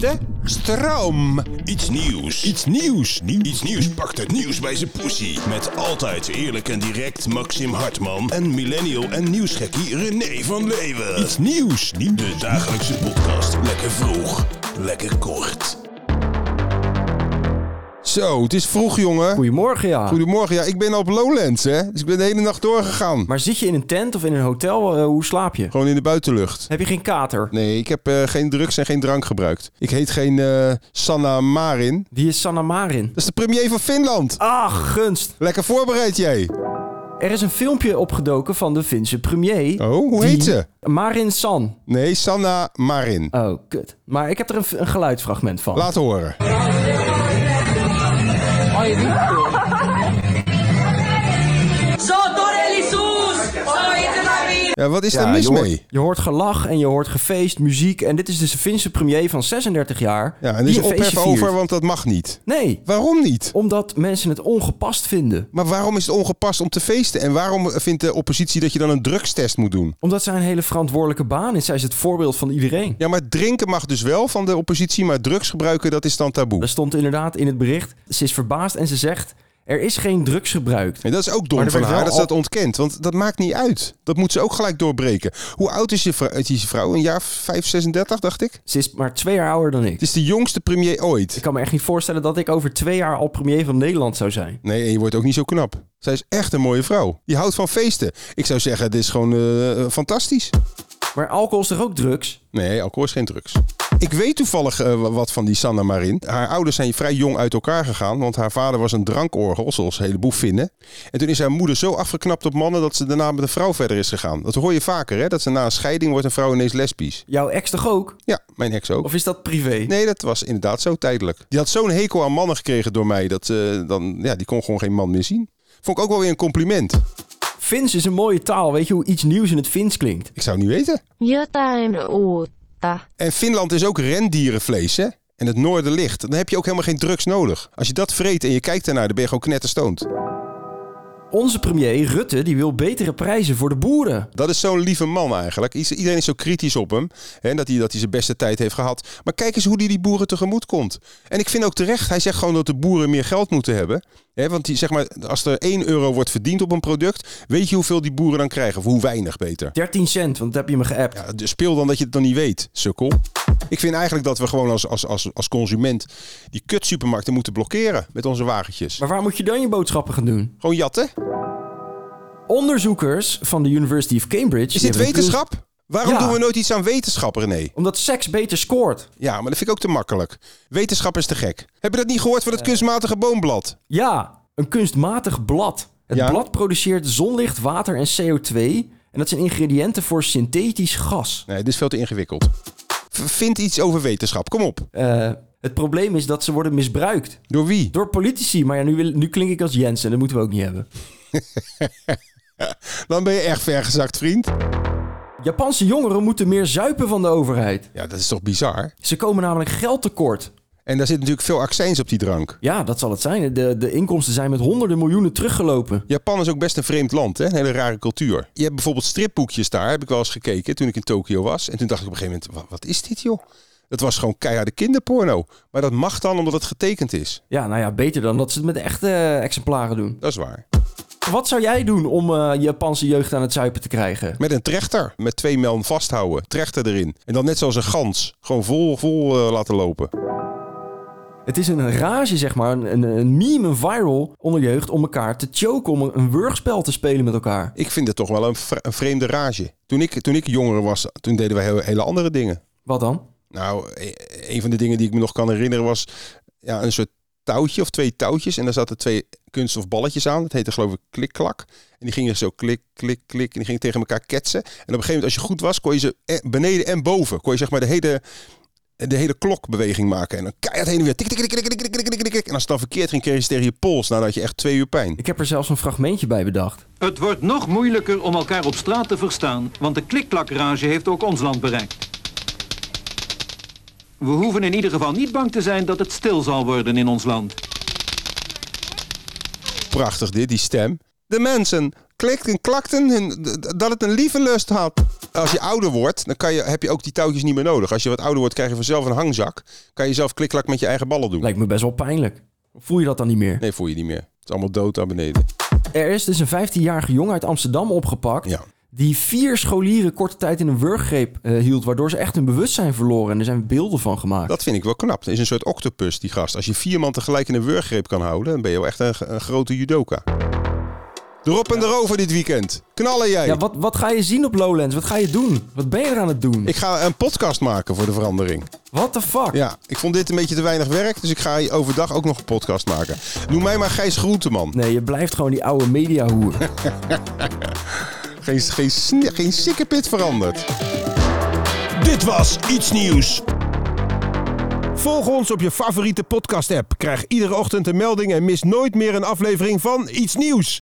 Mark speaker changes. Speaker 1: De stroom.
Speaker 2: Iets nieuws.
Speaker 1: Iets nieuws. nieuws.
Speaker 2: Iets nieuws pakt het nieuws bij zijn poesie. Met altijd eerlijk en direct Maxim Hartman en millennial en nieuwsgekkie René van Leeuwen.
Speaker 1: Iets nieuws. nieuws.
Speaker 2: De dagelijkse podcast. Lekker vroeg, lekker kort.
Speaker 1: Zo, het is vroeg, jongen.
Speaker 3: Goedemorgen, ja.
Speaker 1: Goedemorgen. Ja, ik ben op Lowlands, hè. Dus ik ben de hele nacht doorgegaan.
Speaker 3: Maar zit je in een tent of in een hotel? Eh, hoe slaap je?
Speaker 1: Gewoon in de buitenlucht.
Speaker 3: Heb je geen kater?
Speaker 1: Nee, ik heb eh, geen drugs en geen drank gebruikt. Ik heet geen eh, Sanna Marin.
Speaker 3: Die is Sanna Marin.
Speaker 1: Dat is de premier van Finland.
Speaker 3: Ah, gunst.
Speaker 1: Lekker voorbereid jij.
Speaker 3: Er is een filmpje opgedoken van de Finse premier.
Speaker 1: Oh, hoe
Speaker 3: Die-
Speaker 1: heet ze?
Speaker 3: Marin San.
Speaker 1: Nee, Sanna Marin.
Speaker 3: Oh, kut. Maar ik heb er een, een geluidsfragment van.
Speaker 1: Laat horen.
Speaker 4: Sotoreli sus! Soite David!
Speaker 1: Ja, wat is daar
Speaker 3: Ja,
Speaker 1: mis
Speaker 3: je hoort,
Speaker 1: mee?
Speaker 3: Je hoort gelach en je hoort gefeest, muziek. En dit is dus de Finse premier van 36 jaar.
Speaker 1: Ja, en er
Speaker 3: die
Speaker 1: is
Speaker 3: een feestje
Speaker 1: ophef
Speaker 3: viert.
Speaker 1: over, want dat mag niet.
Speaker 3: Nee,
Speaker 1: Waarom niet?
Speaker 3: omdat mensen het ongepast vinden.
Speaker 1: Maar waarom is het ongepast om te feesten? En waarom vindt de oppositie dat je dan een drugstest moet doen?
Speaker 3: Omdat zij een hele verantwoordelijke baan is. Zij is het voorbeeld van iedereen.
Speaker 1: Ja, maar drinken mag dus wel van de oppositie, maar drugs gebruiken, dat is dan taboe.
Speaker 3: Daar stond inderdaad in het bericht. Ze is verbaasd en ze zegt: Er is geen drugs gebruikt.
Speaker 1: En dat is ook
Speaker 3: Maar
Speaker 1: dom
Speaker 3: er
Speaker 1: van
Speaker 3: werd
Speaker 1: haar,
Speaker 3: wel
Speaker 1: dat ze
Speaker 3: al-
Speaker 1: dat ontkent. Want dat maakt niet uit. Dat moet ze ook gelijk doorbreken. Hoe oud is je vrou- is je vrouw? Een jaar 5, 36, dacht ik?
Speaker 3: Ze is maar twee jaar ouder dan ik.
Speaker 1: Het is de jongste premier ooit.
Speaker 3: Ik kan me echt niet voorstellen dat ik over twee jaar al premier van Nederland zou zijn.
Speaker 1: Nee, en je wordt ook niet zo knap. Zij is echt een mooie vrouw. Die houdt van feesten. Ik zou zeggen, dit is gewoon eh, fantastisch.
Speaker 3: Maar alcohol is toch ook drugs?
Speaker 1: Nee, alcohol is geen drugs. Ik weet toevallig eh, wat van die Sanna Marin. Haar ouders zijn vrij jong uit elkaar gegaan, want haar vader was een drankorgel, zoals een heleboel vinden. En toen is haar moeder zo afgeknapt op mannen dat ze daarna met een vrouw verder is gegaan. Dat hoor je vaker, hè? Dat ze na een scheiding wordt een vrouw ineens lesbisch.
Speaker 3: Jouw ex toch ook?
Speaker 1: Ja, mijn ex ook.
Speaker 3: Of is dat privé?
Speaker 1: Nee, dat was inderdaad zo tijdelijk. Die had zo'n hekel aan mannen gekregen door mij, dat eh, dan, ja, die kon gewoon geen man meer zien. Vond ik ook wel weer een compliment.
Speaker 3: Fins is een mooie taal. Weet je hoe iets nieuws in het Fins klinkt?
Speaker 1: Ik zou het niet weten.
Speaker 5: Jotain uutta.
Speaker 1: En Finland is ook rendierenvlees, hè? En het noorden ligt. Dan heb je ook helemaal geen drugs nodig. Als je dat vreet en je kijkt ernaar, dan ben je gewoon knetterstoond.
Speaker 3: Onze premier Rutte die wil betere prijzen voor de boeren.
Speaker 1: Dat is zo'n lieve man eigenlijk. Ieder- Iedereen is zo kritisch op hem. Hè, dat, hij, dat hij zijn beste tijd heeft gehad. Maar kijk eens hoe hij die boeren tegemoet komt. En ik vind ook terecht, hij zegt gewoon dat de boeren meer geld moeten hebben. Hè, want die, zeg maar, als er 1 euro wordt verdiend op een product, weet je hoeveel die boeren dan krijgen? Of hoe weinig beter.
Speaker 3: 13 cent, want dat heb je me geappt.
Speaker 1: Ja, dus speel dan dat je het dan niet weet, sukkel. Ik vind eigenlijk dat we gewoon als, als, als, als consument die kut supermarkten moeten blokkeren met onze wagentjes.
Speaker 3: Maar waar moet je dan je boodschappen gaan doen?
Speaker 1: Gewoon jatten.
Speaker 3: Onderzoekers van de University of Cambridge...
Speaker 1: Is dit
Speaker 3: die hebben een kunst-
Speaker 1: wetenschap? Waarom
Speaker 3: Ja.
Speaker 1: doen we nooit iets aan wetenschap, René?
Speaker 3: Omdat seks beter scoort.
Speaker 1: Ja, maar dat vind ik ook te makkelijk. Wetenschap is te gek. Heb je dat niet gehoord van het kunstmatige boomblad?
Speaker 3: Ja, een kunstmatig blad. Het
Speaker 1: Ja.
Speaker 3: blad produceert zonlicht, water en CO2. En dat zijn ingrediënten voor synthetisch gas.
Speaker 1: Nee, dit is veel te ingewikkeld. V- vind iets over wetenschap. Kom op.
Speaker 3: Eh, het probleem is dat ze worden misbruikt
Speaker 1: Door wie?
Speaker 3: door politici. Maar ja, nu, wil- nu klink ik als Jensen. Dat moeten we ook niet hebben.
Speaker 1: Dan ben je echt vergezakt, vriend.
Speaker 3: Japanse jongeren moeten meer zuipen van de overheid.
Speaker 1: Ja, dat is toch bizar?
Speaker 3: Ze komen namelijk geld tekort.
Speaker 1: En daar zit natuurlijk veel accijns op die drank.
Speaker 3: Ja, dat zal het zijn. De, de inkomsten zijn met honderden miljoenen teruggelopen.
Speaker 1: Japan is ook best een vreemd land, hè? een hele rare cultuur. Je hebt bijvoorbeeld stripboekjes daar, heb ik wel eens gekeken toen ik in Tokio was. En toen dacht ik op een gegeven moment, wa- wat is dit joh? Dat was gewoon keiharde kinderporno. Maar dat mag dan omdat het getekend is.
Speaker 3: Ja, nou ja, beter dan dat ze het met echte eh, exemplaren doen.
Speaker 1: Dat is waar.
Speaker 3: Wat zou jij doen om eh, Japanse jeugd aan het zuipen te krijgen?
Speaker 1: Met een trechter. Met twee man vasthouden. Trechter erin. En dan net zoals een gans. Gewoon vol, vol eh, laten lopen.
Speaker 3: Het is een rage, zeg maar, een, een- een meme, een viral onder jeugd om elkaar te choken, om een- een wurgspel te spelen met elkaar.
Speaker 1: Ik vind het toch wel een, vre- een vreemde rage. Toen ik, toen ik jongere was, toen deden wij heel- hele andere dingen.
Speaker 3: Wat dan?
Speaker 1: Nou, e- een van de dingen die ik me nog kan herinneren was ja, een soort touwtje of twee touwtjes. En daar zaten twee kunststof balletjes aan. Dat heette geloof ik klikklak. En die gingen zo klik, klik, klik. En die gingen tegen elkaar ketsen. En op een gegeven moment, als je goed was, kon je ze e- beneden en boven. Kon je zeg maar de hele, de hele klokbeweging maken. En dan keihard heen en weer. Tik, tik, tik, tik, tik, tik, tik, tik, tik, tik. En als het dan verkeerd ging, kreeg je ze tegen je pols. Nou, dan had je echt twee uur pijn.
Speaker 3: Ik heb er zelfs een fragmentje bij bedacht.
Speaker 6: Het wordt nog moeilijker om elkaar op straat te verstaan, want de klikklakrage heeft ook ons land bereikt. We hoeven in ieder geval niet bang te zijn dat het stil zal worden in ons land.
Speaker 1: Prachtig dit, die stem. De mensen klikten en klakten hun, d- d- dat het een lieve lust had. Als je ouder wordt, dan kan je, heb je ook die touwtjes niet meer nodig. Als je wat ouder wordt, krijg je vanzelf een hangzak. Kan je zelf klikklak met je eigen ballen doen.
Speaker 3: Lijkt me best wel pijnlijk. Voel je dat dan niet meer?
Speaker 1: Nee, voel je niet meer. Het is allemaal dood daar beneden.
Speaker 3: Er is dus een 15-jarige jongen uit Amsterdam opgepakt.
Speaker 1: Ja.
Speaker 3: Die vier scholieren korte tijd in een wurggreep eh, hield, waardoor ze echt hun bewustzijn verloren. En er zijn beelden van gemaakt.
Speaker 1: Dat vind ik wel knap. Het is een soort octopus, die gast. Als je vier man tegelijk in een wurggreep kan houden, dan ben je wel echt een, g- een grote judoka. Erop en erover dit weekend. Knallen jij.
Speaker 3: Ja, wat, wat ga je zien op Lowlands? Wat ga je doen? Wat ben je er aan het doen?
Speaker 1: Ik ga een podcast maken voor de verandering.
Speaker 3: What the fuck?
Speaker 1: Ja, ik vond dit een beetje te weinig werk, dus ik ga overdag ook nog een podcast maken. Noem mij maar Gijs Groenteman.
Speaker 3: Nee, je blijft gewoon die oude mediahoer.
Speaker 1: Geen, geen, sne- geen sikkepit veranderd.
Speaker 2: Dit was Iets Nieuws. Volg ons op je favoriete podcast-app. Krijg iedere ochtend een melding en mis nooit meer een aflevering van Iets Nieuws.